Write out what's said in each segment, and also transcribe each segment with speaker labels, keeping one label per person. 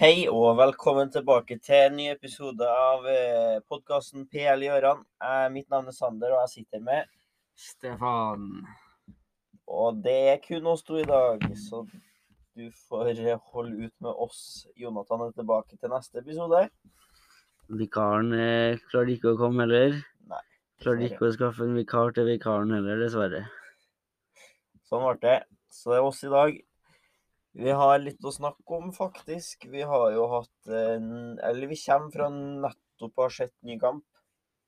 Speaker 1: Hei og velkommen tilbake til en ny episode av eh, podkasten PL Gjøran. Eh, Mitt navn er Sander, og jeg sitter med
Speaker 2: Stefan.
Speaker 1: Og det er kun oss to i dag, så du får eh, holde ut med oss. Jonathan er tilbake til neste episode.
Speaker 2: Vikaren eh, klarte ikke å komme heller.
Speaker 1: Nei,
Speaker 2: Klarte ikke å skaffe en vikar til vikaren heller, dessverre.
Speaker 1: Sånn ble det. Så det er oss i dag. Vi har litt å snakke om, faktisk. Vi har jo hatt en Eller vi kommer fra nettopp å ha sett ny kamp.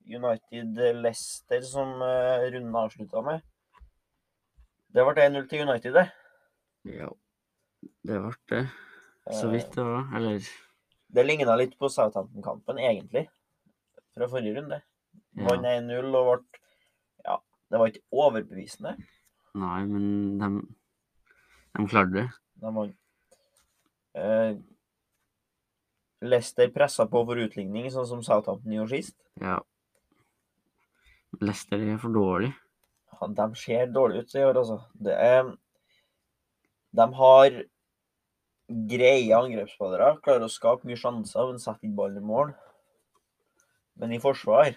Speaker 1: United Leicester som eh, runden avslutta med. Det ble 1-0 til United, det.
Speaker 2: Ja, det ble det. Så
Speaker 1: Eh,
Speaker 2: vidt det var. Eller
Speaker 1: Det ligna litt på Southampton-kampen, egentlig. Fra forrige runde. Vant
Speaker 2: ja.
Speaker 1: 1-0 og ble Ja, det var ikke overbevisende.
Speaker 2: Nei, men de, de klarte det.
Speaker 1: De vant. Eh, Leicester pressa på for utligning, sånn som Southampton gjorde sist.
Speaker 2: Ja. Leicester er for dårlig.
Speaker 1: Ja, de ser dårlig ut i år, altså. Det er, de har greie angrepsspillere. Klarer å skape mye sjanser, men setter ikke ballen i mål. Men i forsvar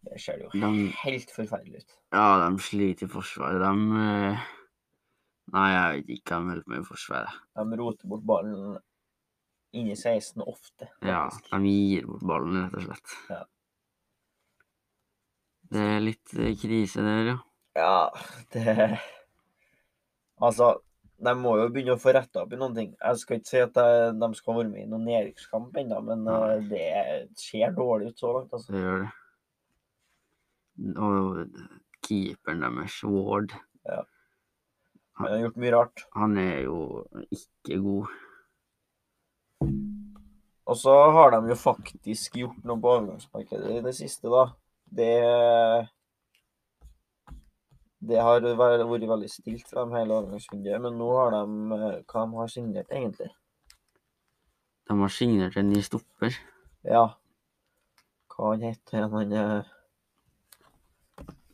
Speaker 1: Det ser det jo
Speaker 2: De,
Speaker 1: helt forferdelig ut.
Speaker 2: ja, de sliter i forsvaret. De eh, Nei, jeg vet ikke hva de holder på med i forsvaret.
Speaker 1: De roter bort ballen inni 16 ofte.
Speaker 2: Ja,
Speaker 1: faktisk.
Speaker 2: de gir bort ballen, rett og slett.
Speaker 1: Ja.
Speaker 2: Det er litt eh, krise der, ja.
Speaker 1: Ja, det Altså, de må jo begynne å få retta opp i noen ting. Jeg skal ikke si at eh, de skal være med i noen nedrykkskamp ennå, men eh, det ser dårlig ut så langt. altså.
Speaker 2: Det gjør det. Og keeperen deres, Ward,
Speaker 1: Men de har gjort mye rart.
Speaker 2: han er jo ikke god.
Speaker 1: Og så har de jo faktisk gjort noe på overgangsmarkedet i det siste, da. Det Det har væ- vært veldig stilt for dem hele overgangsrundet, men nå har de eh, Hva de har signert, egentlig?
Speaker 2: De har signert en ny stopper.
Speaker 1: Ja. Hva han het han? Han eh,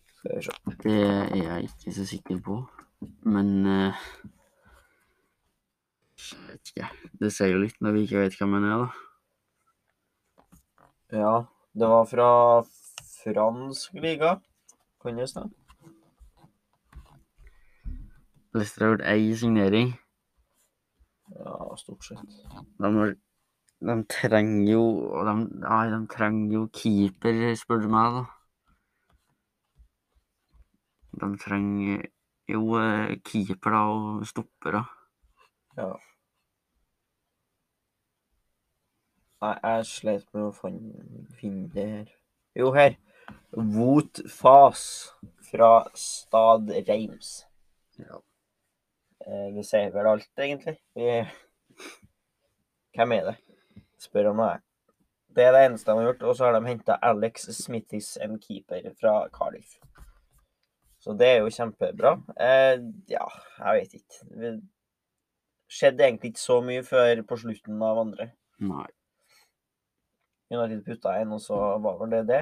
Speaker 1: Skal vi se.
Speaker 2: Det er jeg ikke så sikker på. Men eh, jeg vet ikke. Det sier jo litt når vi ikke vet hvem han er, da.
Speaker 1: Ja, det var fra fransk liga. Kan det stemme?
Speaker 2: Leicester har gjort ei signering.
Speaker 1: Ja, stort sett.
Speaker 2: De, har, de trenger jo og de, Nei, de trenger jo keeper, spør du meg, da. De trenger jo eh, keeper da, og stoppere.
Speaker 1: Ja. Nei, jeg sleit med å fin- finne det her. Jo, her. Wout Fas fra Stad Reims.
Speaker 2: Ja.
Speaker 1: Eh, Det sier vel alt, egentlig. Vi... Hvem er det? Spør han meg. Det er det eneste de har gjort. Og så har de henta Alex Smithis, en keeper fra Cardiff. Så det er jo kjempebra. Eh, ja, jeg vet ikke. Det skjedde egentlig ikke så mye før på slutten av andre.
Speaker 2: Nei.
Speaker 1: United putta inn, og så var vel det det.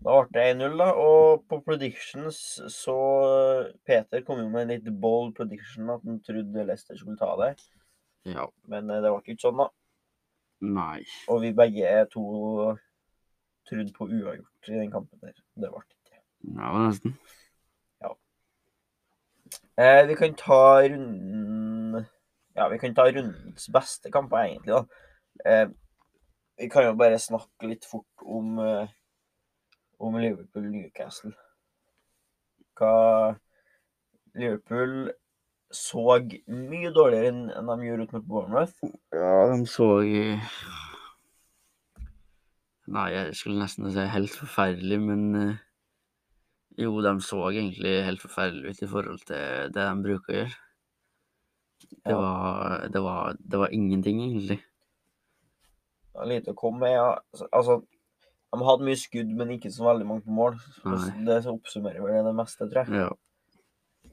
Speaker 1: Da ble det 1-0, da. Og på predictions så Peter kom jo med en litt bold prediction at han trodde Leicester skulle ta det.
Speaker 2: Ja.
Speaker 1: Men eh, det ble ikke sånn, da.
Speaker 2: Nei.
Speaker 1: Og vi begge to trodde på uavgjort i den kampen der. Det ble ikke det.
Speaker 2: Ja, nesten.
Speaker 1: Eh, vi kan ta runden Ja, vi kan ta rundens beste kamper, egentlig, da. Eh, vi kan jo bare snakke litt fort om, eh, om Liverpool-Newcastle. Hva Liverpool så mye dårligere enn enn de gjorde ut mot Bournemouth.
Speaker 2: Ja, de så eh, Nei, jeg skulle nesten si helt forferdelig, men eh, Jo, de så egentlig helt forferdelig ut i forhold til det de bruker å gjøre. Det,
Speaker 1: Ja.
Speaker 2: var, det, var, det var ingenting, egentlig.
Speaker 1: Ja, lite å komme med. Ja. Altså, de hadde mye skudd, men ikke så veldig mange på mål. Så
Speaker 2: Nei.
Speaker 1: Det oppsummerer vel det meste, tror jeg.
Speaker 2: Ja.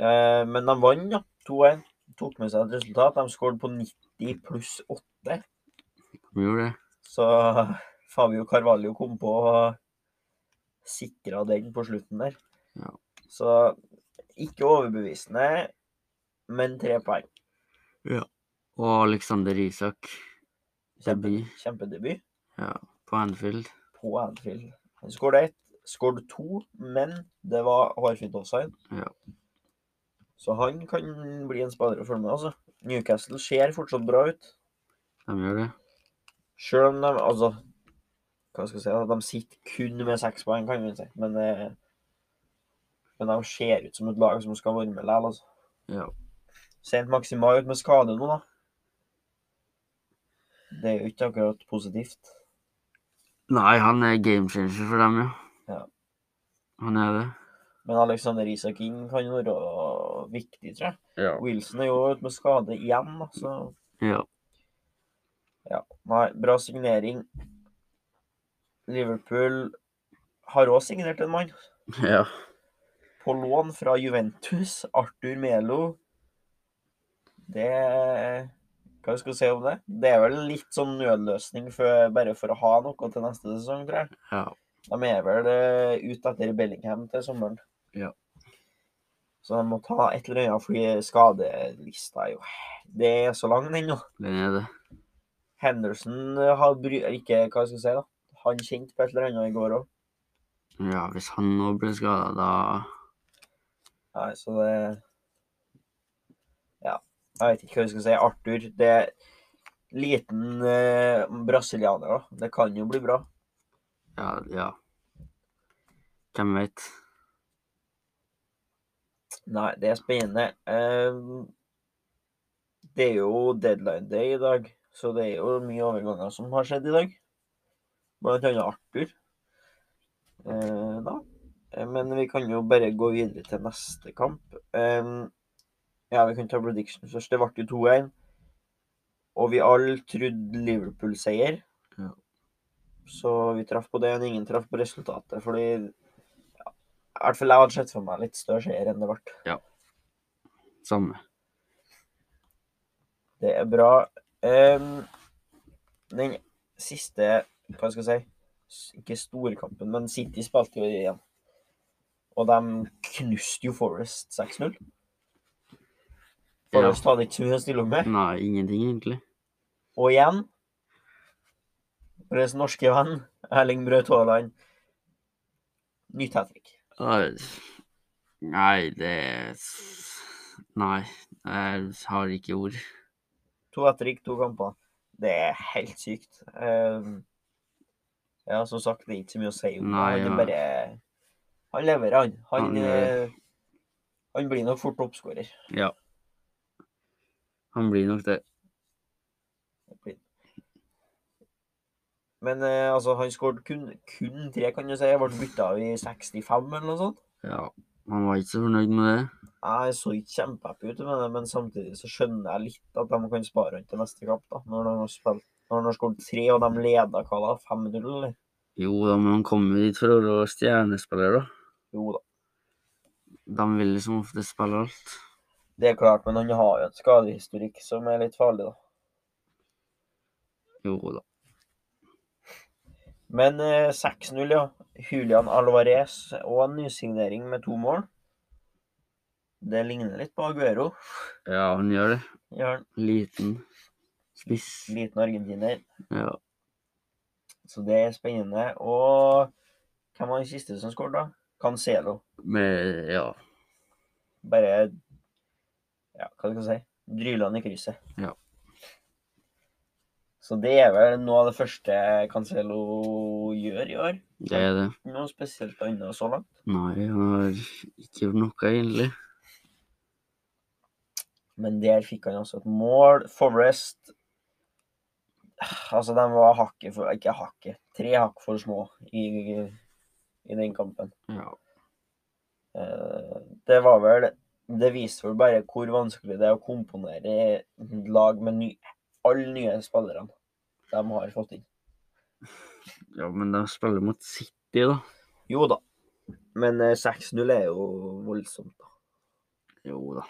Speaker 1: Eh, men de vant, ja. 2-1. Tok med seg et resultat. De skåret på 90 pluss 8.
Speaker 2: De gjorde det.
Speaker 1: Så Fabio Carvalho kom på og sikra den på slutten der.
Speaker 2: Ja.
Speaker 1: Så ikke overbevisende, men tre poeng.
Speaker 2: Ja. Og Alexander Isak. Debut.
Speaker 1: Kjempedebut
Speaker 2: Ja, på Anfield.
Speaker 1: på Anfield. Han skåret ett, skåret to, men det var hardfint offside.
Speaker 2: Ja.
Speaker 1: Så han kan bli en spiller å følge med, altså. Newcastle ser fortsatt bra ut.
Speaker 2: De gjør det.
Speaker 1: Sjøl om de Altså, hva skal jeg si? da, De sitter kun med seks poeng, kan vi si. Men, eh, men de ser ut som et lag som skal være med likevel, altså.
Speaker 2: Ja.
Speaker 1: Sent Maxima ut med skade nå, da. Det er jo ikke akkurat positivt.
Speaker 2: Nei, han er gamechanger for dem, ja.
Speaker 1: Ja.
Speaker 2: Han er det.
Speaker 1: Men Alexander Isak King kan jo være viktig, tror jeg.
Speaker 2: Ja.
Speaker 1: Wilson er jo ute med skade igjen, da, så
Speaker 2: ja.
Speaker 1: Nei, bra signering. Liverpool har òg signert en mann.
Speaker 2: Ja.
Speaker 1: På lån fra Juventus. Arthur Melo. Det Hva skal vi si om det? Det er vel en litt sånn nødløsning for, bare for å ha noe til neste sesong, tror jeg.
Speaker 2: ja.
Speaker 1: De er vel eh, ute etter Bellingham til sommeren.
Speaker 2: Ja.
Speaker 1: Så de må ta et eller annet, fordi skadelista er jo Det er så lang ennå.
Speaker 2: Den er det.
Speaker 1: Henderson eh, har bry... Ikke, hva skal jeg si, da. Han kjente på et eller annet i går òg.
Speaker 2: Ja, hvis han nå blir skada, da
Speaker 1: Nei, så det Ja. Jeg vet ikke hva jeg skal si. Arthur, det er liten eh, brasilianer, da. Det kan jo bli bra.
Speaker 2: Ja. ja. Hvem veit?
Speaker 1: Nei, det er spennende. Ehm, det er jo deadline day i dag, så det er jo mye overganger som har skjedd i dag. Blant annet Arthur. Eh, da. Eh, Men vi kan jo bare gå videre til neste kamp. Ehm, ja, vi kan ta prediction først. Det ble jo 2-1. Og vi alle trodde Liverpool-seier.
Speaker 2: Ja.
Speaker 1: Så vi traff på det, men ingen traff på resultatet. Fordi ja, i hvert fall jeg hadde sett for meg litt større seier enn det ble.
Speaker 2: Samme.
Speaker 1: Det er bra. Ehm, den siste, hva skal jeg si, s- ikke storkampen, men City spilte jo igjen. Og de knuste jo Forest 6-0.
Speaker 2: Ja.
Speaker 1: Forest hadde ikke så mye å stille opp med.
Speaker 2: Nei, ingenting, egentlig.
Speaker 1: Og igjen, vår norske venn Erling Braut Haaland, nytt hat trick.
Speaker 2: Nei, Nei, det Nei, jeg har ikke ord.
Speaker 1: To hat-trick, to kamper. Det er helt sykt. Ehm, ja, som sagt, det er ikke så mye å si om det.
Speaker 2: Nei,
Speaker 1: Han er
Speaker 2: nei.
Speaker 1: bare Han leverer, han. Han,
Speaker 2: Han leverer.
Speaker 1: eh, han blir nok fort oppskårer.
Speaker 2: Ja. Han blir nok det.
Speaker 1: Men eh, altså, han skåret kun, kun tre, kan du si. Ble bytta av i 65 eller noe sånt.
Speaker 2: Ja. Han var ikke så fornøyd med det.
Speaker 1: Jeg så ikke kjempehappy ut med det, men samtidig så skjønner jeg litt at de kan spare han til neste kamp, da. Når de har spilt når han har skåret tre, og de leda hva da? 5-0, eller?
Speaker 2: Jo da, men han kommer dit for å være stjernespiller, da.
Speaker 1: Jo da.
Speaker 2: De vil liksom ofte spille alt.
Speaker 1: Det er klart, men han har jo en skadehistorikk som er litt farlig, da.
Speaker 2: Jo da.
Speaker 1: Men eh, 6-0, ja. Julian Alvarez og en nysignering med to mål. Det ligner litt på Aguero.
Speaker 2: Ja, han gjør det.
Speaker 1: Ja, en
Speaker 2: Liten. Spiss.
Speaker 1: liten argentiner.
Speaker 2: Ja.
Speaker 1: Så det er spennende. Og hvem var den siste som skåret, da? Cancelo.
Speaker 2: Med Ja.
Speaker 1: Bare Ja, hva skal jeg si? Dryla han i krysset.
Speaker 2: Ja.
Speaker 1: Så det er vel noe av det første Cancelo gjør i år.
Speaker 2: Det er det.
Speaker 1: Ikke Noe spesielt annet så langt.
Speaker 2: Nei, han har ikke gjort noe, egentlig.
Speaker 1: Men der fikk han også et mål. Forest Altså, de var hakket for Ikke hakket. Tre hakk for små i, i den kampen.
Speaker 2: Ja.
Speaker 1: Eh, Det var vel Det viste vel bare hvor vanskelig det er å komponere lag med ny, alle nye spillerne de har fått inn.
Speaker 2: ja, men de spiller mot City, da.
Speaker 1: Jo da, men eh, 6-0 er jo voldsomt, da.
Speaker 2: Jo da.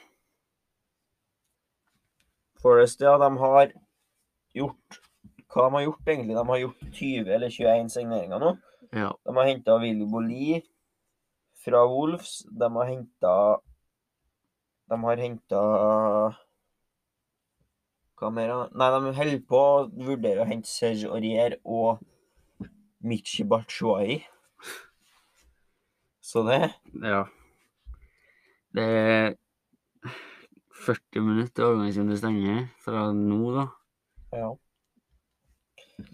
Speaker 1: Forest, ja, de har gjort Hva de har gjort, egentlig? De har gjort 20 eller 21 signeringer nå.
Speaker 2: Ja.
Speaker 1: De har henta Willy Boli fra Wolves. De har henta De har henta Hva Hva mer? da? Nei, de holder på å vurdere å hente Serge Aurier og Michi Batshuayi. Så det
Speaker 2: Ja. Det er 40 minutter til overgangsvinduet stenger fra nå, da.
Speaker 1: Ja.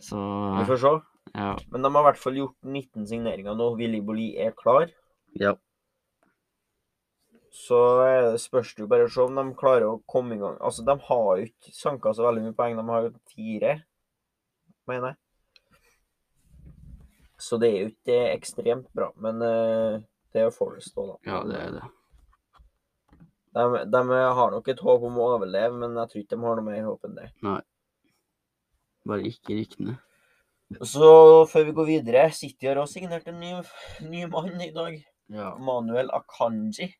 Speaker 2: Så
Speaker 1: Vi får se.
Speaker 2: ja.
Speaker 1: Men de har i hvert fall gjort 19 signeringer nå. Willy Bolli er klar.
Speaker 2: ja.
Speaker 1: Så eh, spørs det jo bare å se om de klarer å komme i gang. Altså, de har jo ikke sanka så veldig mye poeng. De har jo fire, mener jeg. Så det er jo ikke ekstremt bra. Men eh, det er jo Forest òg, da.
Speaker 2: Ja, det er det.
Speaker 1: De, de har nok et håp om å overleve, men jeg tror ikke de har noe mer håp enn det.
Speaker 2: Bare ikke rykkene.
Speaker 1: Så før vi går videre, City har også signert en ny, ny mann i dag.
Speaker 2: Ja.
Speaker 1: Manuel Akanji.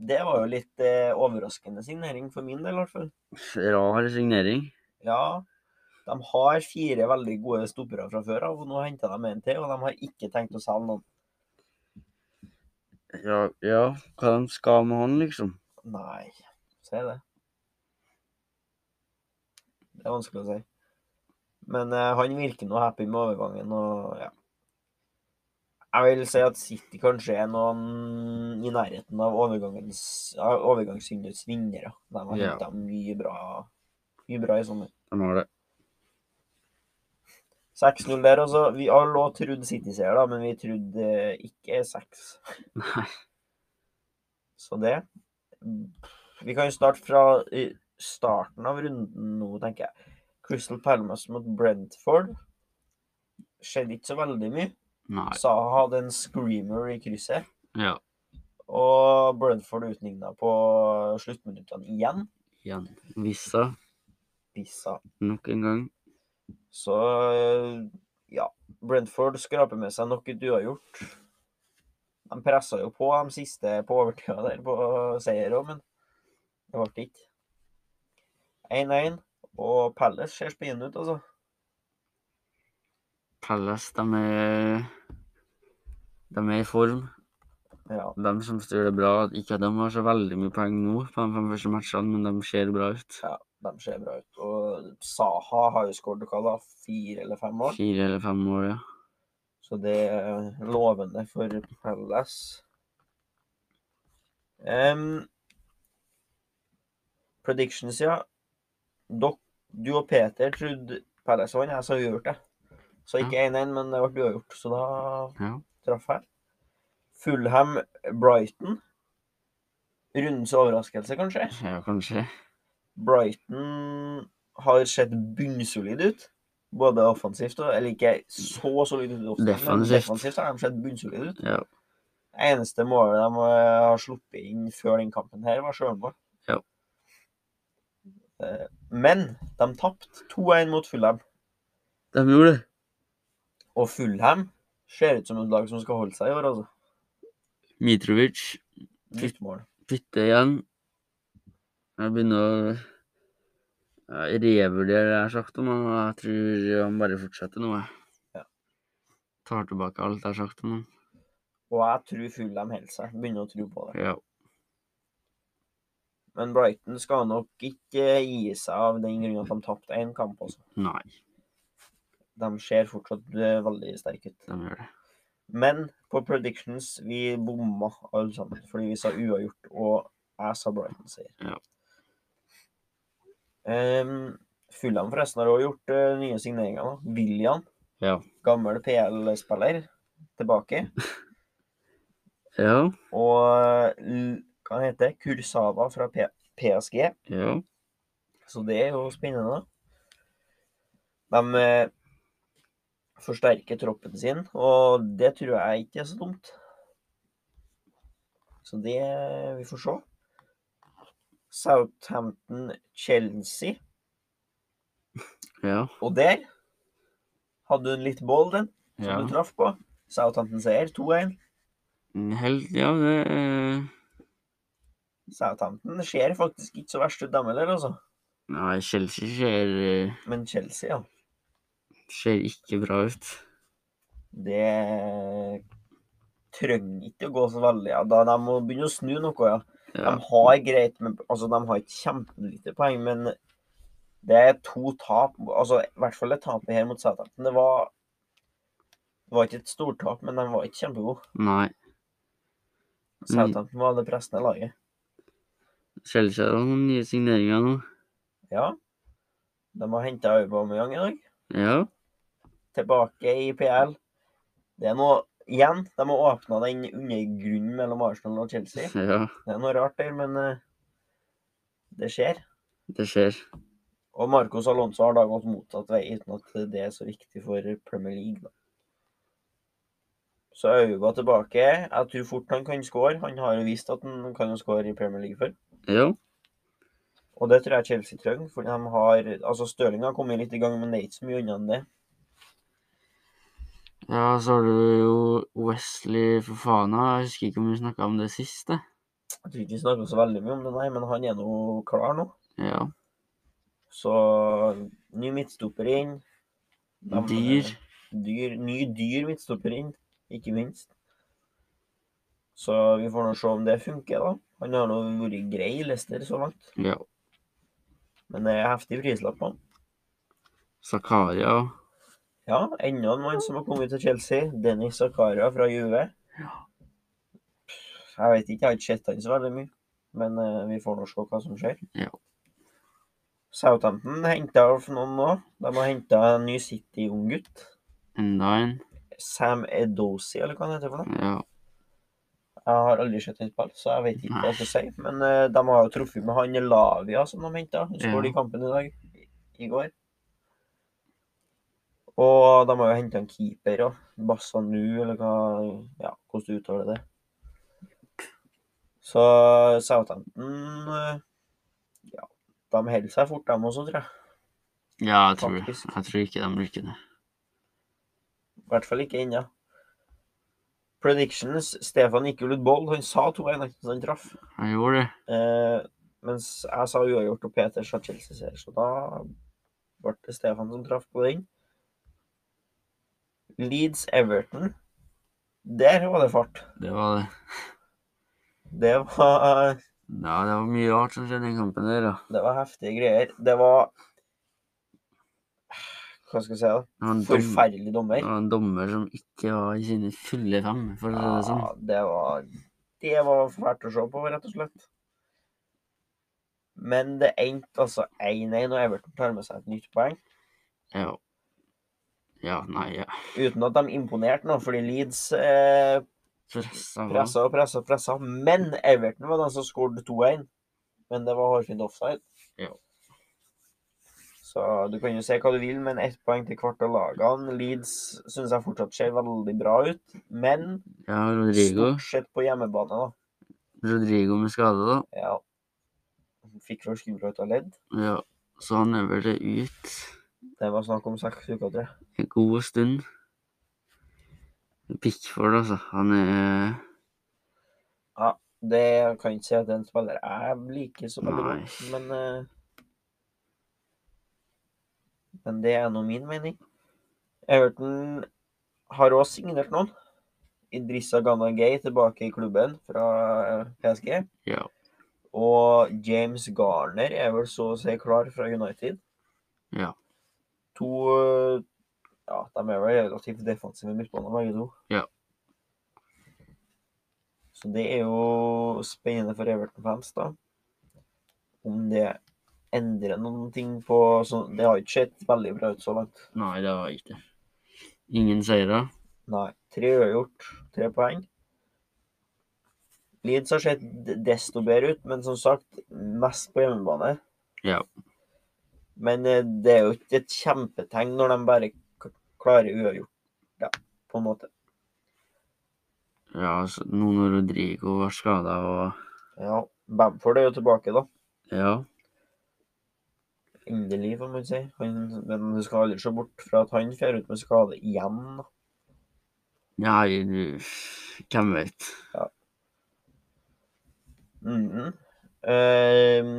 Speaker 1: Det var jo litt eh, overraskende signering for min del, i hvert fall.
Speaker 2: Rar signering.
Speaker 1: Ja, de har fire veldig gode stoppere fra før av, og nå henter de en til, og de har ikke tenkt å selge noen.
Speaker 2: Ja, ja. hva de skal med han, liksom.
Speaker 1: Nei, si det. Det er vanskelig å si. Men eh, han virker nå happy med overgangen, og ja. Jeg vil si at City kanskje er noen i nærheten av overgangens- av overgangsvinduets vinnere. De har
Speaker 2: Ja.
Speaker 1: henta mye bra, mye bra i sommer.
Speaker 2: De har det.
Speaker 1: 6-0 der, altså. Vi alle òg trodde City-seier, da, men vi trodde eh, ikke 6.
Speaker 2: Nei.
Speaker 1: Så det Vi kan jo starte fra eh, starten av runden nå, tenker jeg. Crystal Palmas mot Brentford. Skjedde ikke så veldig mye.
Speaker 2: Nei.
Speaker 1: Saha hadde en screamer i krysset.
Speaker 2: Ja.
Speaker 1: Og Brentford utligna på sluttminuttene igjen.
Speaker 2: Igjen. Vissa.
Speaker 1: Bissa.
Speaker 2: Nok en gang.
Speaker 1: Så eh, ja, Brentford skraper med seg nok et uavgjort. De pressa jo på de siste på overtida der på seier òg, men det ble ikke. 1-1. Og Palace ser spennende ut, altså.
Speaker 2: Palace, de er De er i form.
Speaker 1: Ja,
Speaker 2: De som styrer det bra, ikke at de har så veldig mye poeng nå på de fem første matchene, men de ser bra ut.
Speaker 1: ja de ser bra ut. Og Saha har jo skåret hva da, fire eller fem mål,
Speaker 2: Fire eller fem år, ja.
Speaker 1: så det er lovende for Palace. Em, predictions, ja. Dok, du og Peter trodde Palace vant, jeg sa uavgjort, jeg. Så ikke 1-1, men det ble uavgjort, så da
Speaker 2: ja.
Speaker 1: traff jeg. Fulham-Brighton. Rundens overraskelse, kanskje.
Speaker 2: Ja, kanskje.
Speaker 1: Brighton har sett bunnsolid ut. Både offensivt og Eller ikke så solid ut offensivt, men
Speaker 2: Defensivt.
Speaker 1: defensivt har de sett bunnsolid ut.
Speaker 2: Ja.
Speaker 1: Eneste målet de eh, har sluppet inn før den kampen her, var sjølmål.
Speaker 2: Ja.
Speaker 1: Eh, Men de tapte 2-1 mot Fulham.
Speaker 2: De gjorde det.
Speaker 1: Og Fulham ser ut som et lag som skal holde seg i år, altså.
Speaker 2: Mitrovic
Speaker 1: Nytt mål.
Speaker 2: bytte igjen. Jeg begynner å ja, revurdere det jeg har sagt om han, og jeg tror han bare fortsetter nå, jeg.
Speaker 1: Ja.
Speaker 2: Tar tilbake alt jeg har sagt om han.
Speaker 1: Og jeg tror Fulham holder seg. Begynner å tro på det.
Speaker 2: Ja.
Speaker 1: Men Brighton skal nok ikke gi seg av den grunn at de tapte én kamp, altså.
Speaker 2: Nei,
Speaker 1: De ser fortsatt eh, veldig sterke ut.
Speaker 2: de gjør det.
Speaker 1: Men på predictions vi bomma alle sammen, fordi vi sa uavgjort, og jeg sa Brighton seier.
Speaker 2: Ja.
Speaker 1: Ehm, Fulham forresten har også gjort eh, nye signeringer. da. William,
Speaker 2: Ja.
Speaker 1: gammel PL-spiller, tilbake.
Speaker 2: Ja.
Speaker 1: Og L- hva han heter Kursava fra P PSG.
Speaker 2: Ja.
Speaker 1: Så det er jo spennende. da. De eh, forsterker troppen sin, og det tror jeg ikke er så dumt. Så det Vi får se. Southampton-Chelsea.
Speaker 2: Ja.
Speaker 1: Og der hadde hun litt ball, den, som
Speaker 2: ja.
Speaker 1: du traff på. Southampton-seier 2-1.
Speaker 2: Helt, ja, det eh, er
Speaker 1: Southampton ser faktisk ikke så verst ut, dem heller, altså.
Speaker 2: Nei, Chelsea ser, eh,
Speaker 1: Men Chelsea, ja.
Speaker 2: ser ikke bra ut.
Speaker 1: Det trenger ikke å gå så veldig. Ja, da de må begynne å snu noe, ja.
Speaker 2: Ja.
Speaker 1: De har greit med Altså, de har ikke kjempelite poeng, men Det er to tap, altså i hvert fall det tapet her mot Southampton. Det var Det var ikke et stortap, men de var ikke kjempegode.
Speaker 2: Nei.
Speaker 1: Southampton var det pressende laget.
Speaker 2: Chelsea har noen nye signeringer nå.
Speaker 1: Ja. De har henta Aubameyang i dag.
Speaker 2: Ja.
Speaker 1: Tilbake i PL. Det er noe Igjen, de har åpna den undergrunnen mellom Arsenal og Chelsea.
Speaker 2: ja.
Speaker 1: Det er noe rart der, men eh, det skjer.
Speaker 2: Det skjer.
Speaker 1: Og Marcos Alonso har da gått motsatt vei, uten at det er så viktig for Premier League. da. Så Auga tilbake. Jeg tror fort han kan score. Han har jo vist at han kan jo score i Premier League før.
Speaker 2: Ja.
Speaker 1: Og det tror jeg Chelsea trenger. for de har, altså Stirling har kommet litt i gang, men det er ikke så mye unna enn det.
Speaker 2: ja, så har du jo Wesley for faen Jeg husker ikke om vi snakka om det sist. jeg.
Speaker 1: Jeg tror ikke vi snakker så veldig mye om det, nei, men han er nå klar nå.
Speaker 2: Ja.
Speaker 1: Så ny midtstopper inn. De-
Speaker 2: Dyr.
Speaker 1: dyr, ny dyr midtstopper inn, ikke minst. Så vi får nå se om det funker, da. Han har nå vært grei i Leicester så langt,
Speaker 2: Ja.
Speaker 1: men det er heftig prislapp på han.
Speaker 2: Zakaria.
Speaker 1: Ja, enda en mann som har kommet til Chelsea. Dennis Zakaria fra Juve. Pff, Jeg vet ikke, jeg har ikke sett han så veldig mye. Men eh, vi får nå se hva som skjer.
Speaker 2: Ja.
Speaker 1: Southampton henta noen nå. De har henta en ny City-ung gutt.
Speaker 2: Enda en.
Speaker 1: Sam Edosi, eller hva han heter for noe.
Speaker 2: Ja.
Speaker 1: Jeg har aldri sett et ball, så jeg vet ikke hva jeg skal si. Men eh, de har jo truffet med han Lavia som de henta. Han skåret
Speaker 2: Ja.
Speaker 1: i kampen i dag. I, I går. Og de har jo henta en keeper òg. Bassanu, eller hva Ja, hvordan du uttaler det. Så Southampton eh, Ja, de holder seg fort, dem også, tror jeg.
Speaker 2: Ja, jeg tror,
Speaker 1: Faktisk.
Speaker 2: jeg tror ikke de rykker ned.
Speaker 1: I hvert fall ikke ennå. Predictions. Stefan gikk jo litt bold. Han sa 2-1, så han traff.
Speaker 2: Jeg gjorde det.
Speaker 1: Eh, mens jeg sa uavgjort og Peter sa Chelsea-seier, så da ble det Stefan som traff på den. Leeds-Everton. Der var det fart.
Speaker 2: Det var det.
Speaker 1: Det var,
Speaker 2: Ja, det var mye rart som skjedde i den kampen der, da.
Speaker 1: det var heftige greier. Det var Hva skal jeg si, da?
Speaker 2: Det var en dom-
Speaker 1: Forferdelig dommer.
Speaker 2: Det var en dommer som ikke var i sine fulle fem, for å si det sånn.
Speaker 1: Ja, det var Det var fælt å se på, rett og slett. Men det endte altså 1-1, og Everton tar med seg et nytt poeng.
Speaker 2: Ja. Ja, nei, ja.
Speaker 1: Uten at de imponerte nå, fordi Leeds eh,
Speaker 2: Pressa på.
Speaker 1: pressa og pressa og pressa. Men Everton var den som skåret 2-1. Men det var hårfint offside.
Speaker 2: Ja.
Speaker 1: Så du kan jo se hva du vil, men ett poeng til hvert av lagene. Leeds syns jeg fortsatt ser veldig bra ut, men
Speaker 2: Ja, Rodrigo.
Speaker 1: stort sett på hjemmebane, da.
Speaker 2: Rodrigo med skade, da.
Speaker 1: Ja. Fikk vel skuldra ut av ledd.
Speaker 2: Ja. Så han er vel ut
Speaker 1: Det var snakk om seks uker, tror jeg.
Speaker 2: en god stund. Pickford, altså. Han er
Speaker 1: Det kan ikke si at det er en spiller jeg liker så veldig godt,
Speaker 2: Nei.
Speaker 1: men eh, Men det er nå min mening. Everton har òg signert noen. Idrissa Ghana Gay tilbake i klubben fra eh, PSG.
Speaker 2: Ja.
Speaker 1: Og James Garner er vel så å si klar fra United.
Speaker 2: Ja.
Speaker 1: To eh, Ja, de er vel relativt defensive midtbaner, begge to.
Speaker 2: Ja.
Speaker 1: Så det er jo spennende for Everton-fans, da. Om det endrer noen ting på så Det har ikke sett veldig bra ut så langt.
Speaker 2: Nei, det var ikke det. Ingen seire.
Speaker 1: Nei. Tre uavgjort, tre poeng. Leeds har sett d- desto bedre ut, men som sagt, mest på hjemmebane.
Speaker 2: Ja.
Speaker 1: Men eh, det er jo ikke et kjempetegn når de bare k- klarer uavgjort, ja, på en måte.
Speaker 2: Ja, altså, nå når Rodrigo var skada og
Speaker 1: Ja, Bamford er jo tilbake, da.
Speaker 2: Ja.
Speaker 1: Endelig, får man si. Han, men du skal aldri se bort fra at han fer ut med skade igjen. da.
Speaker 2: Ja, du Hvem vet?
Speaker 1: Mhm. Ehm,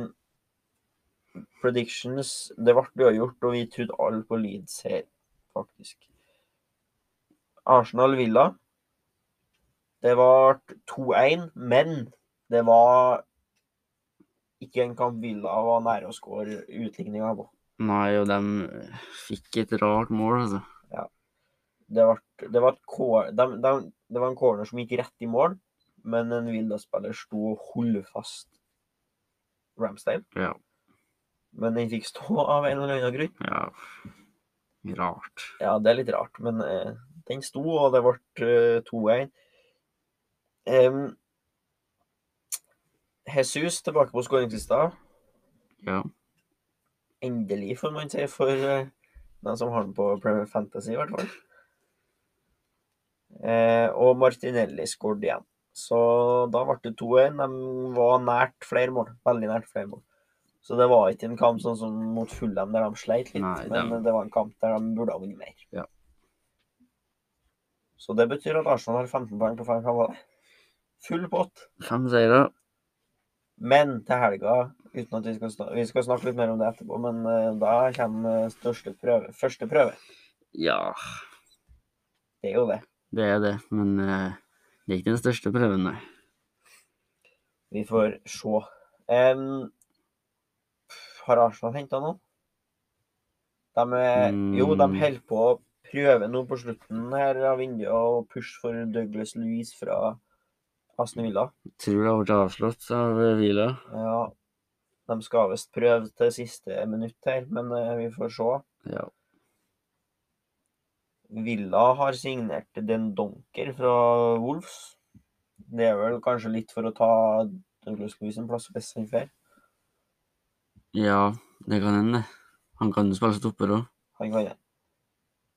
Speaker 1: predictions Det ble uavgjort, og vi trodde alle på Leeds her, faktisk. Arsenal Villa. Det ble 2-1, men det var ikke en kamp Villa var nære å skåre utligninga på.
Speaker 2: Nei, og de fikk et rart mål, altså.
Speaker 1: Det var, det var, et kor, dem- dem- det var en corner som gikk rett i mål, men en Vilda-spiller sto og holdt fast Ramstein.
Speaker 2: Ja.
Speaker 1: Men den fikk stå av en eller annen grunn.
Speaker 2: Ja. Rart.
Speaker 1: Ja, det er litt rart, men eh, den sto, og det ble eh, 2-1. Em, Jesus tilbake på skåringslista.
Speaker 2: Ja.
Speaker 1: Endelig, får man si, for eh, dem som har den på Premier Fantasy, i hvert fall. Eh, og Martinelli skåret igjen. Så da ble det 2-1. De var nært flere mål. Veldig nært flere mål. Så det var ikke en kamp sånn som mot Fulham, der de sleit litt.
Speaker 2: Nei,
Speaker 1: men
Speaker 2: dem-
Speaker 1: det var en kamp der de burde ha vunnet mer.
Speaker 2: Ja.
Speaker 1: Så det betyr at Arsenal har 15 poeng på fem kamper. Full pott.
Speaker 2: Fem seire.
Speaker 1: Men til helga, uten at vi skal, snak vi skal snakke litt mer om det etterpå, men eh, da kommer største prøve. Første prøve.
Speaker 2: Ja,
Speaker 1: Det er jo det.
Speaker 2: det er det. Men eh, det er ikke den største prøven, nei.
Speaker 1: Vi får se. Em, har Arsenal henta noe? De er, Jo, de
Speaker 2: Mm.
Speaker 1: holder på å prøve nå på slutten her av vinduet å pushe for Douglas Louise fra Aston Villa.
Speaker 2: Tror det har blitt avslått av eh, Vila.
Speaker 1: Ja, de skal visst prøve til siste minutt her, men eh, vi får se.
Speaker 2: Ja.
Speaker 1: Villa har signert Den Donker fra Wolves. Det er vel kanskje litt for å ta Douglas Louise en plass best enn før.
Speaker 2: ja, det kan hende. Han kan jo spille stopper òg.
Speaker 1: Han kan det.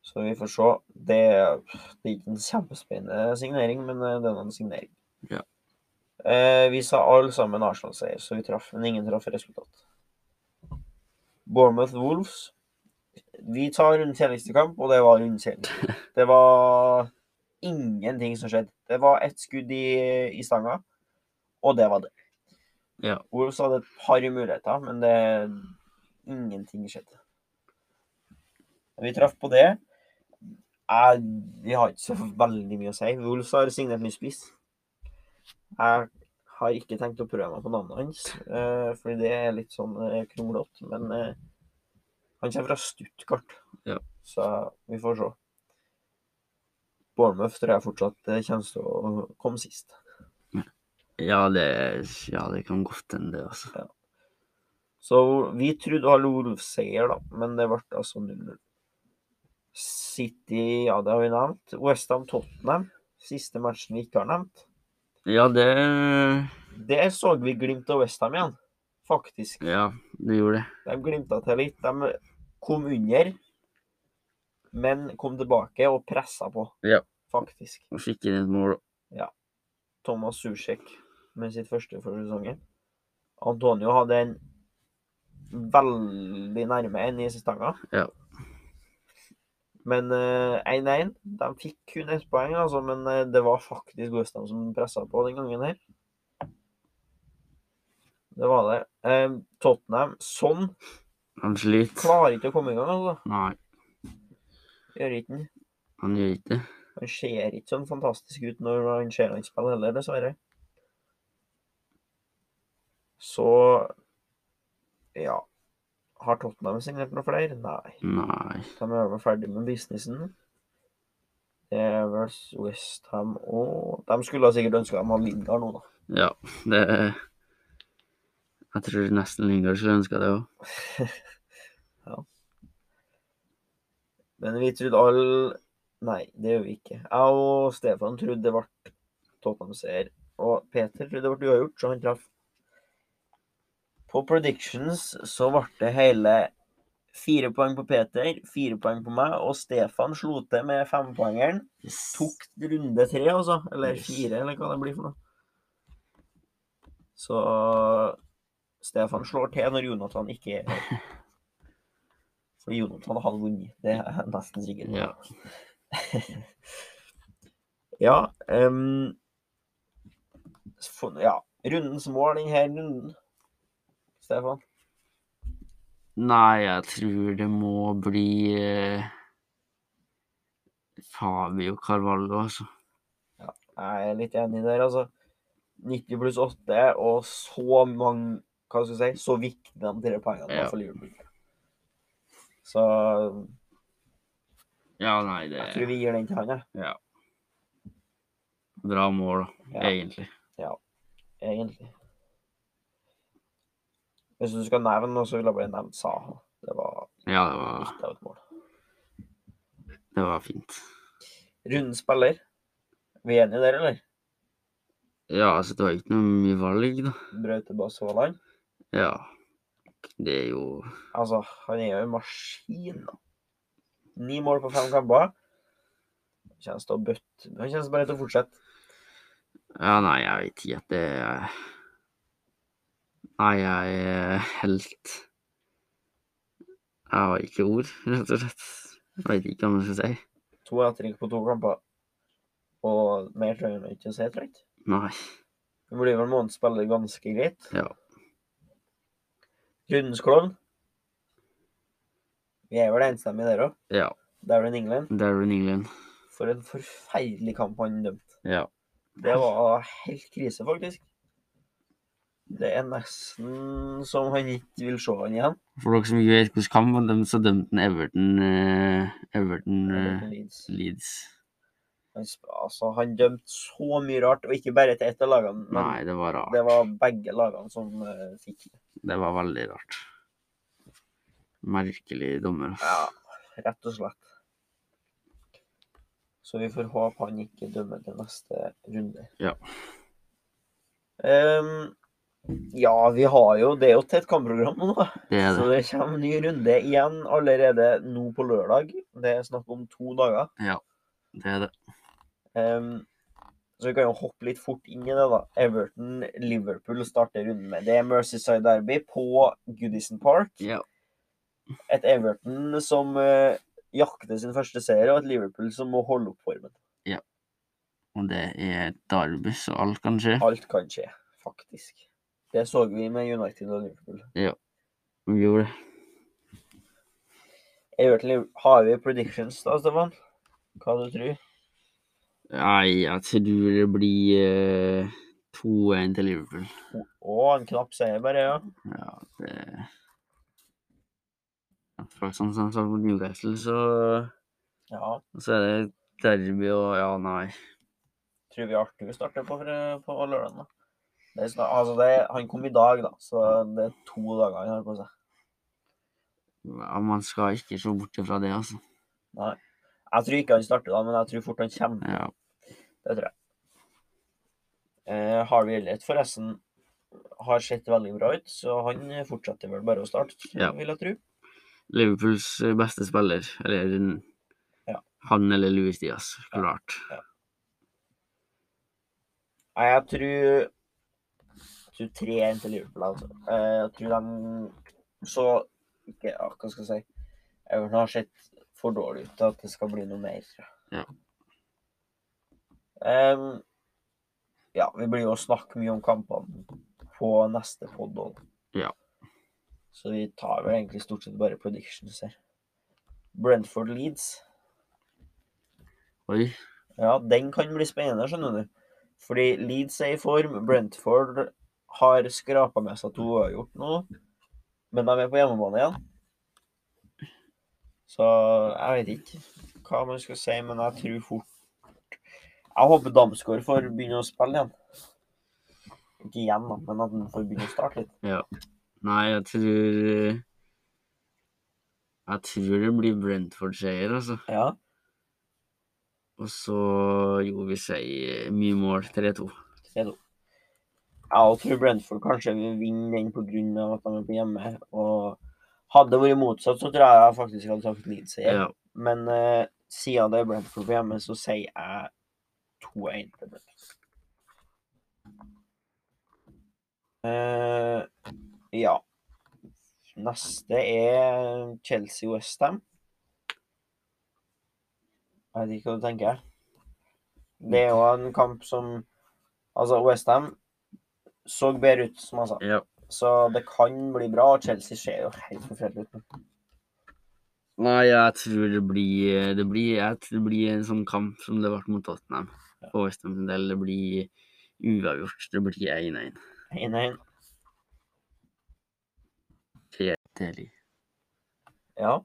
Speaker 1: Så vi får se. Det er, det er ikke en kjempespennende signering, men eh, det er nå en signering.
Speaker 2: Ja.
Speaker 1: Eh, vi sa alle sammen Arsenal-seier, så vi traff, men ingen traff resultat. Bournemouth Wolves. Vi tar rundens kjedeligste kamp, og det var rundens kjedeligste. Det var ingenting som skjedde. Det var ett skudd i, i stanga, og det var det.
Speaker 2: Ja.
Speaker 1: Wolves hadde et par muligheter, men det ingenting skjedde. Vi traff på det. Jeg, vi har ikke så veldig mye å si. Wolves har signert ny spiss. Jeg har ikke tenkt å prøve meg på navnet hans, eh, fordi det er litt sånn eh, kronglete. Men eh, han kommer fra Stuttgart,
Speaker 2: Ja.
Speaker 1: så vi får se. Bournemouth tror jeg fortsatt eh, kommer til å komme sist.
Speaker 2: Ja, det, ja, det kan godt hende, det, altså.
Speaker 1: Så vi trodde alle Wolves-seier, da, men det ble altså 0-0. City, ja, det har vi nevnt. Westham Tottenham, siste matchen vi ikke har nevnt.
Speaker 2: Ja, det
Speaker 1: Der så vi glimt av Westham igjen, faktisk.
Speaker 2: Ja, det gjorde det.
Speaker 1: De glimta til litt. De kom under, men kom tilbake og pressa på,
Speaker 2: Ja.
Speaker 1: faktisk.
Speaker 2: Og fikk inn et mål.
Speaker 1: Thomas Susek med sitt første for sesongen. Antonio hadde en veldig nærme enn i stanga.
Speaker 2: Ja.
Speaker 1: Men eh, 1-1. De fikk kun ett poeng, altså, men eh, det var faktisk Gustav som pressa på den gangen her. Det var det. Eh, Tottenham sånn
Speaker 2: Han sliter.
Speaker 1: klarer ikke å komme i gang, altså.
Speaker 2: Nei,
Speaker 1: Gjør ikke den.
Speaker 2: han gjør ikke det.
Speaker 1: Han ser ikke sånn fantastisk ut når han ser han spille heller, dessverre. Så ja. Har Tottenham signert noen flere? Nei.
Speaker 2: Nei.
Speaker 1: De er vel ferdig med businessen. Det er vel Westham og De skulle ha sikkert ønska de hadde Lindgard nå, da.
Speaker 2: Ja, det Jeg tror nesten Lingard skulle ønska det òg.
Speaker 1: Men vi trodde alle Nei, det gjør vi ikke. Jeg og Stefan trodde det ble Tottenham-seier. Og Peter trodde det ble uavgjort, så han traff. På predictions så ble det hele fire poeng på Peter, fire poeng på meg, og Stefan slo til med fempoengeren. Tok runde tre, altså. Eller
Speaker 2: Yes.
Speaker 1: fire, eller hva det blir for noe. Så Stefan slår til når Jonathan ikke er her. For Jonathan hadde vunnet. Det er jeg nesten sikker på.
Speaker 2: Ja.
Speaker 1: Ja, ehm, for, ja. Rundens mål denne runden, Stefan.
Speaker 2: Nei, jeg tror det må bli eh, Fabio Carvalho, altså.
Speaker 1: Jeg er litt enig der, altså. 90 pluss 8 og så mange Hva skal jeg si? Så viktig de tre poengene var
Speaker 2: Ja.
Speaker 1: for Liverpool. Så
Speaker 2: Ja, nei, det
Speaker 1: jeg tror vi gir den til han, jeg.
Speaker 2: Bra mål, da,
Speaker 1: Ja.
Speaker 2: egentlig.
Speaker 1: Egentlig. Hvis du skal nevne noe, så ville jeg bare nevnt Saha. Det var
Speaker 2: Ja, det var,
Speaker 1: litt av et mål.
Speaker 2: det var fint.
Speaker 1: Runden spiller. Vi er enige der, eller?
Speaker 2: Ja, altså, det var ikke noe mye valg, da.
Speaker 1: Braute Bass Haaland.
Speaker 2: Ja. Det er jo
Speaker 1: Altså, han er jo en maskin, da. Ni mål på fem kamper. Han kjennes til å bøtte Han kjennes bare til å fortsette.
Speaker 2: Ja, nei, jeg vet ikke at det er Nei, jeg er helt Jeg har ikke ord, rett og slett. Jeg vet ikke hva man skal si.
Speaker 1: To etterrykk på to kamper. Og mer trenger han ikke å si, tror jeg.
Speaker 2: Nei.
Speaker 1: Det blir vel månedsspiller ganske greit.
Speaker 2: Ja.
Speaker 1: Rundens klovn. Vi er vel enstemmige der òg.
Speaker 2: Ja.
Speaker 1: Darren England.
Speaker 2: Darren England.
Speaker 1: For en forferdelig kamp han dømte.
Speaker 2: Ja.
Speaker 1: Det var helt krise, faktisk. Det er nesten som han ikke vil se han igjen.
Speaker 2: For dere som ikke vet hvordan kamp var, dem så dømte han Everton eh, Everton eh,
Speaker 1: Leeds.
Speaker 2: Leeds.
Speaker 1: Han, sp- altså, han dømte så mye rart, og ikke bare til ett av lagene, men
Speaker 2: Nei, det var
Speaker 1: det
Speaker 2: rart.
Speaker 1: var begge lagene som eh, fikk det.
Speaker 2: Det var veldig rart. Merkelig dommer, ass.
Speaker 1: Ja, rett og slett. Så vi får håpe han ikke dømmer til neste runde.
Speaker 2: Ja.
Speaker 1: Ehm, ja, vi har jo Det er jo et tett kampprogram nå, da.
Speaker 2: Det er
Speaker 1: Så
Speaker 2: det.
Speaker 1: det kommer ny runde igjen allerede nå på lørdag. Det er snakk om to dager.
Speaker 2: Det er det.
Speaker 1: Ehm, så vi kan jo hoppe litt fort inn i det, da. Everton-Liverpool starter runden med. Det er Mercyside Derby på Goodison Park.
Speaker 2: Ja.
Speaker 1: Et Everton som eh, jakter sin første seier, og et Liverpool som må holde opp formen.
Speaker 2: Og det er et derby, så alt kan skje.
Speaker 1: Alt kan skje, faktisk. Det så vi med United og Liverpool.
Speaker 2: Vi gjorde det.
Speaker 1: Everton har vi predictions, da, Stefan? Hva du tror
Speaker 2: Nei, jeg tror det blir eh, 2-1 til Liverpool.
Speaker 1: Å, en knapp seier bare, ja.
Speaker 2: Ja, det Ja, Fra Kristiansand mot Newcastle, så
Speaker 1: Ja,
Speaker 2: Så er det derby og Ja, nei.
Speaker 1: tror vi Arthur starter på, fre- på lørdagen. da. Det er snak, altså det, han kom i dag, da, så det er to dager han har på seg.
Speaker 2: Ja, man skal ikke se bort ifra det, altså.
Speaker 1: Nei. Jeg tror ikke han starter da, men jeg tror fort han kommer.
Speaker 2: Ja.
Speaker 1: Det tror jeg. Eh, Harvey Elliot forresten har sett veldig bra ut, så han fortsetter vel bare å starte,
Speaker 2: Ja.
Speaker 1: vil jeg tro.
Speaker 2: Liverpools eh, beste spiller, eller den-
Speaker 1: Ja.
Speaker 2: han eller Louis Diaz,
Speaker 1: Ja.
Speaker 2: klart.
Speaker 1: Nei, jeg tror Jeg tror 3-1 til Liverpool, altså. Eh, Jeg tror de så ikke ja, Hva skal jeg si Everton har sett for dårlig ut til at det skal bli noe mer.
Speaker 2: Ja.
Speaker 1: Em, ja, vi blir jo å snakke mye om kampene på neste pod òg.
Speaker 2: Ja.
Speaker 1: Så vi tar vel egentlig stort sett bare predictions her. Brentford Leeds.
Speaker 2: Oi.
Speaker 1: Ja, den kan bli spennende, skjønner du. Fordi Leeds er i form. Brentford har skrapa med seg to uavgjort nå. Men de er på hjemmebane igjen. Så jeg vet ikke hva man skal si, men jeg tror fort Jeg håper Damsgaard får begynne å spille igjen. Ikke igjen, da, men at han får begynne å starte litt.
Speaker 2: Nei, jeg tror eh, Jeg tror det blir Brentford-seier, altså.
Speaker 1: Ja.
Speaker 2: Og så jo, vi sier eh, mye mål, 3-2.
Speaker 1: Jeg òg tror Brentford kanskje vil vinne den pga. at de er på hjemme. Og hadde det vært motsatt, så tror jeg jeg faktisk hadde sagt Leeds. seier.
Speaker 2: Ja.
Speaker 1: Men eh, siden det er Brentford på hjemme, så sier jeg 2-1 til Brentford. Eh, ja. Neste er Chelsea-Westham. Jeg vet ikke hva du tenker. Det er jo en kamp som Altså, Westham så bedre ut, som jeg sa.
Speaker 2: ja.
Speaker 1: Så det kan bli bra. og Chelsea ser jo helt forferdelig ut.
Speaker 2: Nei, jeg tror det blir, eh, det blir Jeg tror det blir en sånn kamp som det ble mot Tottenham. På Westham sin del. Det blir uavgjort. Det blir 1-1.
Speaker 1: 1-1.
Speaker 2: Tidlig.
Speaker 1: Ja.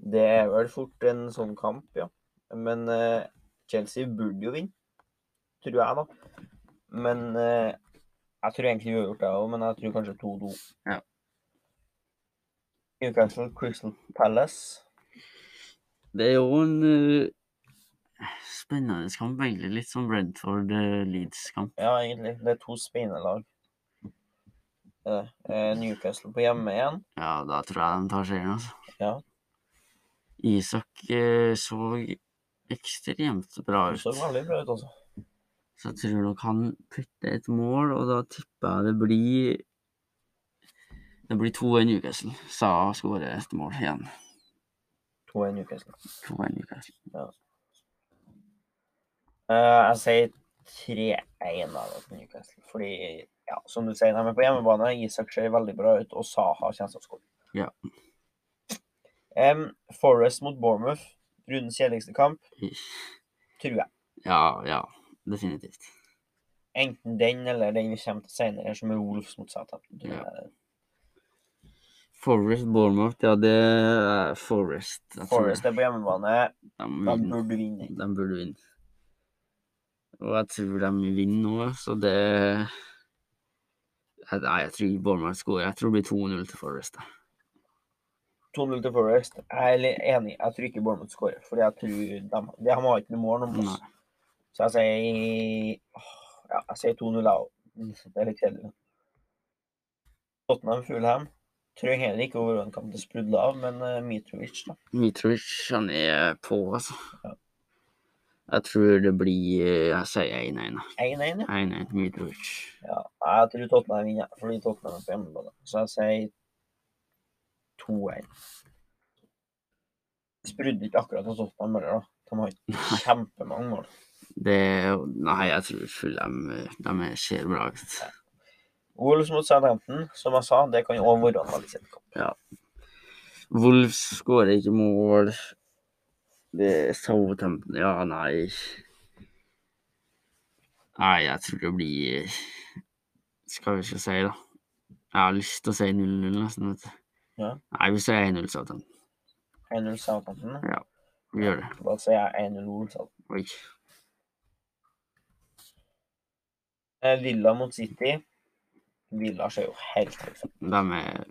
Speaker 1: Det er vel fort en sånn kamp, ja. Men eh, Chelsea burde jo vinne, tror jeg, da. Men eh, jeg tror egentlig uavgjort, jeg òg, men jeg tror kanskje 2-2.
Speaker 2: Ja.
Speaker 1: Newcastle Crystal Palace.
Speaker 2: Det er jo en eh, spennende kamp, egentlig. Litt sånn Bredford-Leeds-kamp.
Speaker 1: Ja, egentlig. Det er to spennende lag. Eh, eh, Newcastle på hjemme igjen.
Speaker 2: Ja, da tror jeg de tar seieren, altså.
Speaker 1: Ja.
Speaker 2: Isak eh, så ekstremt bra
Speaker 1: Det
Speaker 2: ut.
Speaker 1: så veldig bra ut, altså.
Speaker 2: Så jeg tror nok han putter et mål, og da tipper jeg det blir Det blir 2-1 Newcastle. Sa skårer et mål igjen.
Speaker 1: 2-1 Newcastle.
Speaker 2: 2-1 Newcastle.
Speaker 1: Eh, jeg sier 3-1 da, da, til Newcastle. Fordi, ja, som du sier, de er på hjemmebane. Isak ser veldig bra ut, og Saha kommer til å skåre.
Speaker 2: Ja.
Speaker 1: Em, Forest mot Bournemouth. Rundens kjedeligste kamp, tror jeg.
Speaker 2: Ja, ja. Definitivt.
Speaker 1: Enten den eller den vi kommer til senere, som er Wolves mot Southampton. tror
Speaker 2: Ja.
Speaker 1: jeg.
Speaker 2: Forest Bournemouth, ja, det er Forest. Jeg tror
Speaker 1: Forest er på hjemmebane.
Speaker 2: de
Speaker 1: De
Speaker 2: vinner.
Speaker 1: burde vinne.
Speaker 2: De burde vinne. Og jeg tror de vinner nå, så det Jeg- Nei, jeg tror Bournemouth skårer. Jeg tror det blir 2-0 til Forest. da.
Speaker 1: 2-0 til Forest. Jeg er litt enig. Jeg tror ikke Bournemouth skårer. Fordi jeg tror de, de har ikke noe mål om oss.
Speaker 2: Nei.
Speaker 1: Så jeg sier åh, Ja, jeg sier 2-0, jeg òg. Det er litt kjedelig. Tottenham Fulham. Tror jeg heller ikke over en kamp det sprudler av, men eh, Mitrovic, da.
Speaker 2: Mitrovic, han er på, altså.
Speaker 1: Ja.
Speaker 2: Jeg tror det blir Jeg sier 1-1. da.
Speaker 1: 1-1, ja.
Speaker 2: 1-1 til Mitrovic.
Speaker 1: ja. Jeg tror Tottenham vinner, jeg, fordi Tottenham er på hjemmebane. Så jeg sier 2-1. Sprudde ikke akkurat av Tottenham heller, da. De har ikke kjempemange mål.
Speaker 2: Det er jo- Nei, jeg tror Fulham eh, de er- ser bra ut.
Speaker 1: Wolves mot Southampton, som jeg sa, det kan jo også være en veldig kjedelig kamp.
Speaker 2: Wolves skårer ikke mål. Det er Southampton Ja, nei Nei, jeg tror det blir Skal vi skal si, da. Jeg har lyst til å si 0-0, nesten. vet du.
Speaker 1: Ja.
Speaker 2: Nei, vi sier 1-0 Southampton.
Speaker 1: 1-0 Southampton.
Speaker 2: Vi gjør det.
Speaker 1: Da sier jeg 1-0 Wolves. altså.
Speaker 2: Oi.
Speaker 1: Eh, Villa mot City. Villa ser jo helt helt ut.
Speaker 2: De er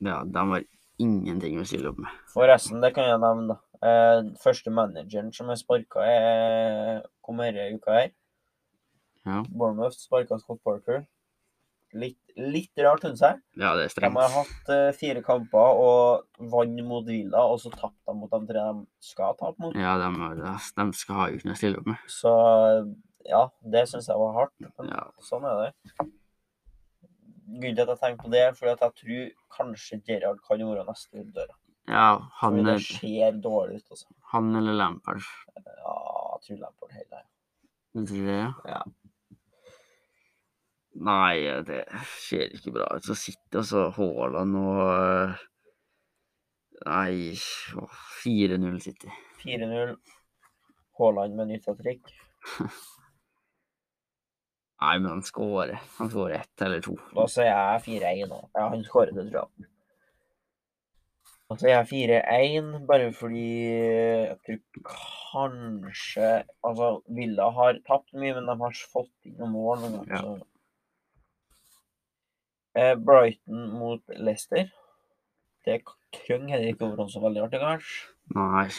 Speaker 2: Ja, de har ingenting å stille opp med.
Speaker 1: Forresten, det kan jeg nevne, da. Eh, første manageren som er sparka, er kom denne uka her.
Speaker 2: Ja.
Speaker 1: Bournemouth sparka Scott Parker. Litt, litt rart, syns jeg.
Speaker 2: Ja, det er
Speaker 1: De
Speaker 2: strengt.
Speaker 1: har hatt eh, fire kamper og vant mot Villa, og så tapte de mot de tre de skal tape mot.
Speaker 2: Ja, de, har, ass, de skal ha uten å stille opp med.
Speaker 1: Så ja, det syns jeg var hardt. Men
Speaker 2: Ja.
Speaker 1: sånn er det. Grunnen til at jeg tenker på det, er fordi at jeg tror kanskje Gerhard kan være neste runddør.
Speaker 2: ja
Speaker 1: Fordi
Speaker 2: han,
Speaker 1: det
Speaker 2: er-
Speaker 1: ser dårlig ut, altså.
Speaker 2: han eller Lampard.
Speaker 1: Ja, jeg tror Lampard heller.
Speaker 2: Du tror det?
Speaker 1: Ja.
Speaker 2: Nei, det ser ikke bra ut. Så sitter altså Haaland og eh, Nei, åh, 4-0 City.
Speaker 1: 4-0. Haaland med nytt trekk.
Speaker 2: Nei, men han skårer. Han skårer ett eller to.
Speaker 1: Da sier jeg 4-1 nå. Ja, han skårer det, tror jeg. Da sier jeg 4-1, bare fordi jeg tror kanskje Altså, Villa har tapt mye, men de har fått inn noen mål noen
Speaker 2: Ja.
Speaker 1: ganger. så. Eh, Brighton mot Leicester. Det trenger heller ikke å være så veldig artig, kanskje.
Speaker 2: Nei.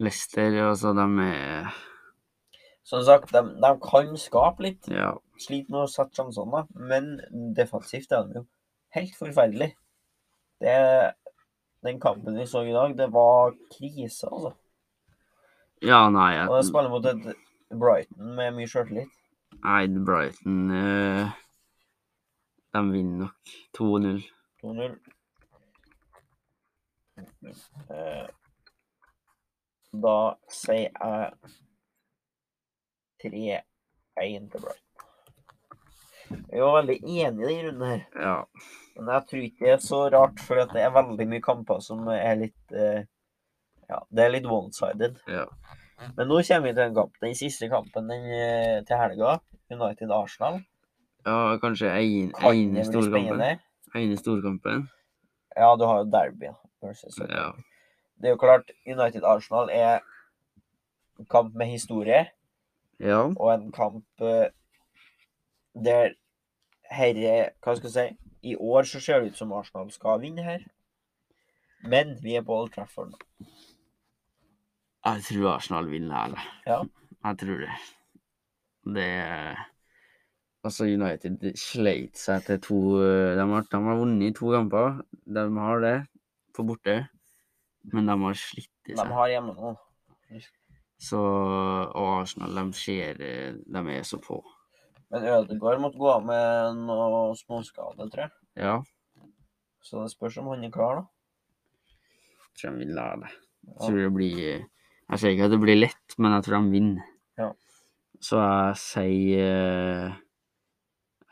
Speaker 2: Leicester, altså, de er
Speaker 1: Som sagt, de, de kan skape litt.
Speaker 2: Ja.
Speaker 1: sliter med å sette sjansene, da. men defensivt er de jo helt forferdelig. Det, den kampen vi så i dag, det var krise, altså.
Speaker 2: Ja, nei, jeg,
Speaker 1: Og de spiller mot et Brighton med mye sjøltillit.
Speaker 2: nei Brighton eh, De vinner nok 2-0.
Speaker 1: 2-0. Eh, Da sier jeg 3-1 til Brighton. Vi var veldig enige i den runden her.
Speaker 2: Ja.
Speaker 1: Men jeg tror ikke det er så rart, for det er veldig mye kamper som er litt eh, Ja, det er litt one-sided.
Speaker 2: Ja.
Speaker 1: Men nå kommer vi til en kamp. Den siste kampen den, eh, til helga, United-Arsenal.
Speaker 2: Ja, kanskje
Speaker 1: Kan
Speaker 2: ene
Speaker 1: det bli
Speaker 2: storkampen.
Speaker 1: spennende?
Speaker 2: Ene storkampen.
Speaker 1: Ja, du har jo derby. da, versus-
Speaker 2: Ja.
Speaker 1: Det er jo klart, United-Arsenal er en kamp med historie,
Speaker 2: Ja.
Speaker 1: og en kamp eh, der herre Hva skal jeg si? I år så ser det ut som Arsenal skal vinne her. Men vi er på Old Trafford.
Speaker 2: Jeg tror Arsenal vinner her, da.
Speaker 1: Ja.
Speaker 2: Jeg tror det. Det Altså, United de sleit seg til to eh, De har, de har vunnet i to kamper. De har det, på borte. Men de har slitt i
Speaker 1: De
Speaker 2: seg.
Speaker 1: har hjemme nå.
Speaker 2: Så Og Arsenal, de ser eh, De er så på.
Speaker 1: Men Ødegaard måtte gå av med noe småskade, tror jeg.
Speaker 2: Ja,
Speaker 1: Så det spørs om han er klar, da.
Speaker 2: jeg tror de vinner her, da. Jeg
Speaker 1: Ja.
Speaker 2: tror det blir Jeg sier ikke at det blir lett, men jeg tror de vinner.
Speaker 1: Ja.
Speaker 2: Så jeg sier eh,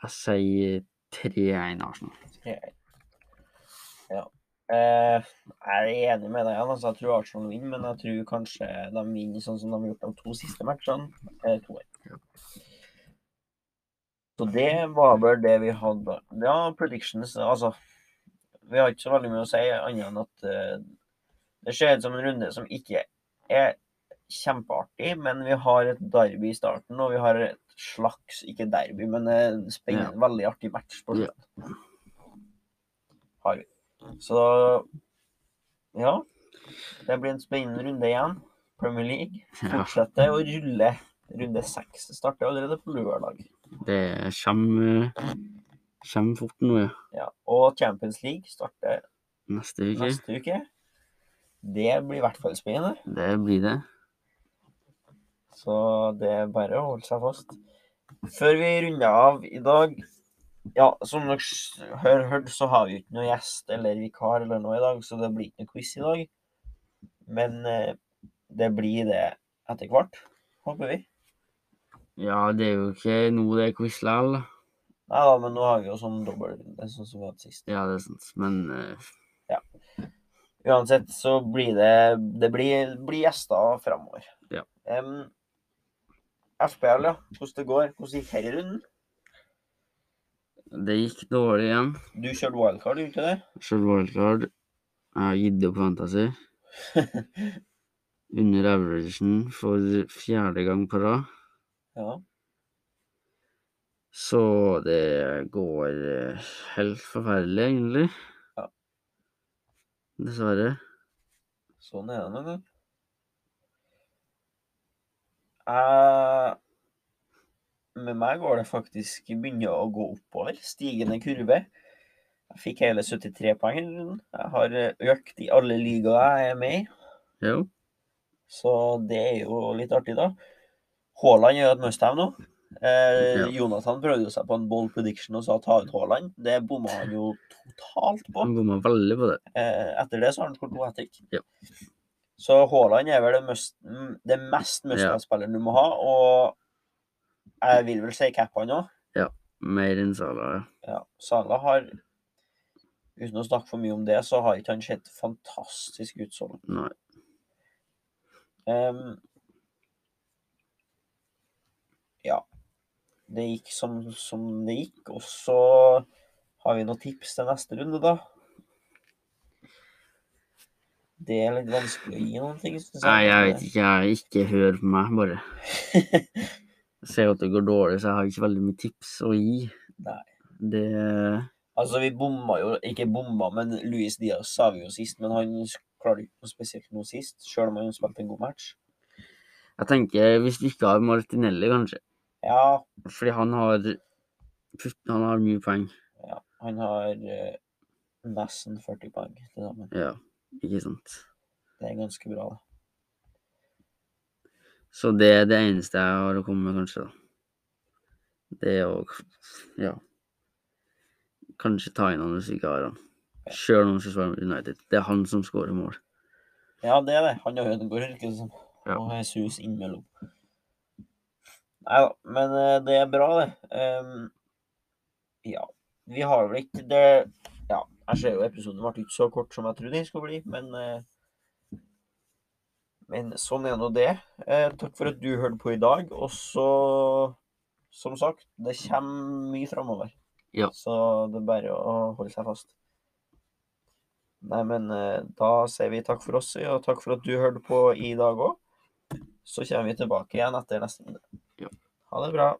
Speaker 2: Jeg sier 3-1 Arsenal.
Speaker 1: Ja. Eh, jeg er enig med deg. igjen, Altså, jeg tror Arsenal vinner, men jeg tror kanskje de vinner sånn som de har gjort de to siste matchene. Eh, to
Speaker 2: Ja.
Speaker 1: Så det var vel det vi hadde. Ja, predictions Altså, vi har ikke så veldig mye å si annet enn at eh, det ser ut som en runde som ikke er kjempeartig, men vi har et derby i starten, og vi har et slags, ikke derby, men eh, en spennende, veldig artig match på
Speaker 2: Ja.
Speaker 1: slutten. Har vi. Så ja. Det blir en spennende runde igjen. Premier League
Speaker 2: Ja,
Speaker 1: fortsetter å rulle. Runde seks starter allerede på lørdag.
Speaker 2: det kommer, kommer fort nå, ja.
Speaker 1: Ja. Og Champions League starter
Speaker 2: Neste uke.
Speaker 1: neste uke. Det blir i hvert fall spennende.
Speaker 2: Det blir det.
Speaker 1: Så det er bare å holde seg fast. Før vi runder av i dag Ja, som dere s- har hørt, så har vi jo ikke noen gjest eller vikar eller noe i dag, så det blir ikke noe quiz i dag. Men eh, det blir det etter hvert, håper vi.
Speaker 2: Ja, det er jo ikke nå det er quiz likevel. da.
Speaker 1: Nei da, men nå har vi jo sånn dobbeltrunde, sånn som vi hadde sist.
Speaker 2: Ja, det er sant. Men eh,
Speaker 1: Uansett så blir det Det blir, blir gjester framover.
Speaker 2: Ja.
Speaker 1: Em, FPL, ja. Hvordan det går? Hvordan gikk denne runden?
Speaker 2: det gikk dårlig igjen.
Speaker 1: Du kjørte wildcard, gjorde du ikke det?
Speaker 2: Selv wildcard. Jeg har gitt opp fantasy. Under averagen for fjerde gang på rad.
Speaker 1: Ja.
Speaker 2: Så det går eh, helt forferdelig, egentlig.
Speaker 1: Ja.
Speaker 2: Dessverre.
Speaker 1: Sånn er det noen gang. Jeg- Eh, med meg går det faktisk begynner å gå oppover. Stigende kurve. Jeg fikk hele 73 poeng. i runden. Jeg har eh, økt i alle ligaer jeg er med i.
Speaker 2: Jo.
Speaker 1: Så det er jo litt artig, da. Haaland er jo et must-have nå. Eh,
Speaker 2: Ja.
Speaker 1: Jonathan prøvde jo seg på en bold prediction og sa ta ut Haaland. Det bomma han jo totalt på.
Speaker 2: Han bomma veldig på det.
Speaker 1: Eh, etter det så har han skåret to hat-trick.
Speaker 2: Ja.
Speaker 1: Så Haaland er vel det, must, mm, det mest must-have-spilleren du må ha, og jeg vil vel si cap han òg.
Speaker 2: Mer enn Salah, ja.
Speaker 1: Ja, Sala har Uten å snakke for mye om det, så har ikke han sett fantastisk ut så langt.
Speaker 2: Nei.
Speaker 1: Ehm, ja. Det gikk som, som det gikk. Og så har vi noen tips til neste runde, da. Det er litt vanskelig å gi noen ting. synes
Speaker 2: Nei, jeg vet ikke. Jeg ikke hør på meg, bare. Jeg ser at det går dårlig, så jeg har ikke veldig mye tips å gi.
Speaker 1: Nei.
Speaker 2: Det
Speaker 1: Altså, vi bomma jo Ikke bomma, men Luis Diaz sa vi jo sist. Men han s- klarte ikke noe spesielt nå sist, sjøl om han spilte en god match.
Speaker 2: Jeg tenker hvis vi ikke har Martinelli, kanskje.
Speaker 1: Ja,
Speaker 2: Fordi han har Putt, Han har mye poeng.
Speaker 1: ja han har eh, nesten 40 poeng til sammen.
Speaker 2: Ja, ikke sant.
Speaker 1: Det er ganske bra, da.
Speaker 2: Så det er det eneste jeg har å komme med, kanskje. da. Det er å Ja. Kanskje ta inn han hvis vi ikke har han. Sjøl om han skal svare United. Det er han som skårer mål.
Speaker 1: Ja, det er det. Han og Ødegaard virker det som.
Speaker 2: Ja.
Speaker 1: Og Jesus innimellom. Nei da, men eh, det er bra, det. Ehm, ja. Vi har vel ikke det Ja, jeg ser jo episoden ble ikke så kort som jeg trodde den skulle bli, men eh, Men sånn er nå det. Eh, takk for at du hørte på i dag. Og så, som sagt, det kommer mye framover.
Speaker 2: Ja.
Speaker 1: Så det er bare å holde seg fast. Nei, men eh, da sier vi takk for oss, og takk for at du hørte på i dag òg. Så kommer vi tilbake igjen etter neste runde.
Speaker 2: Ja.
Speaker 1: Ha det bra.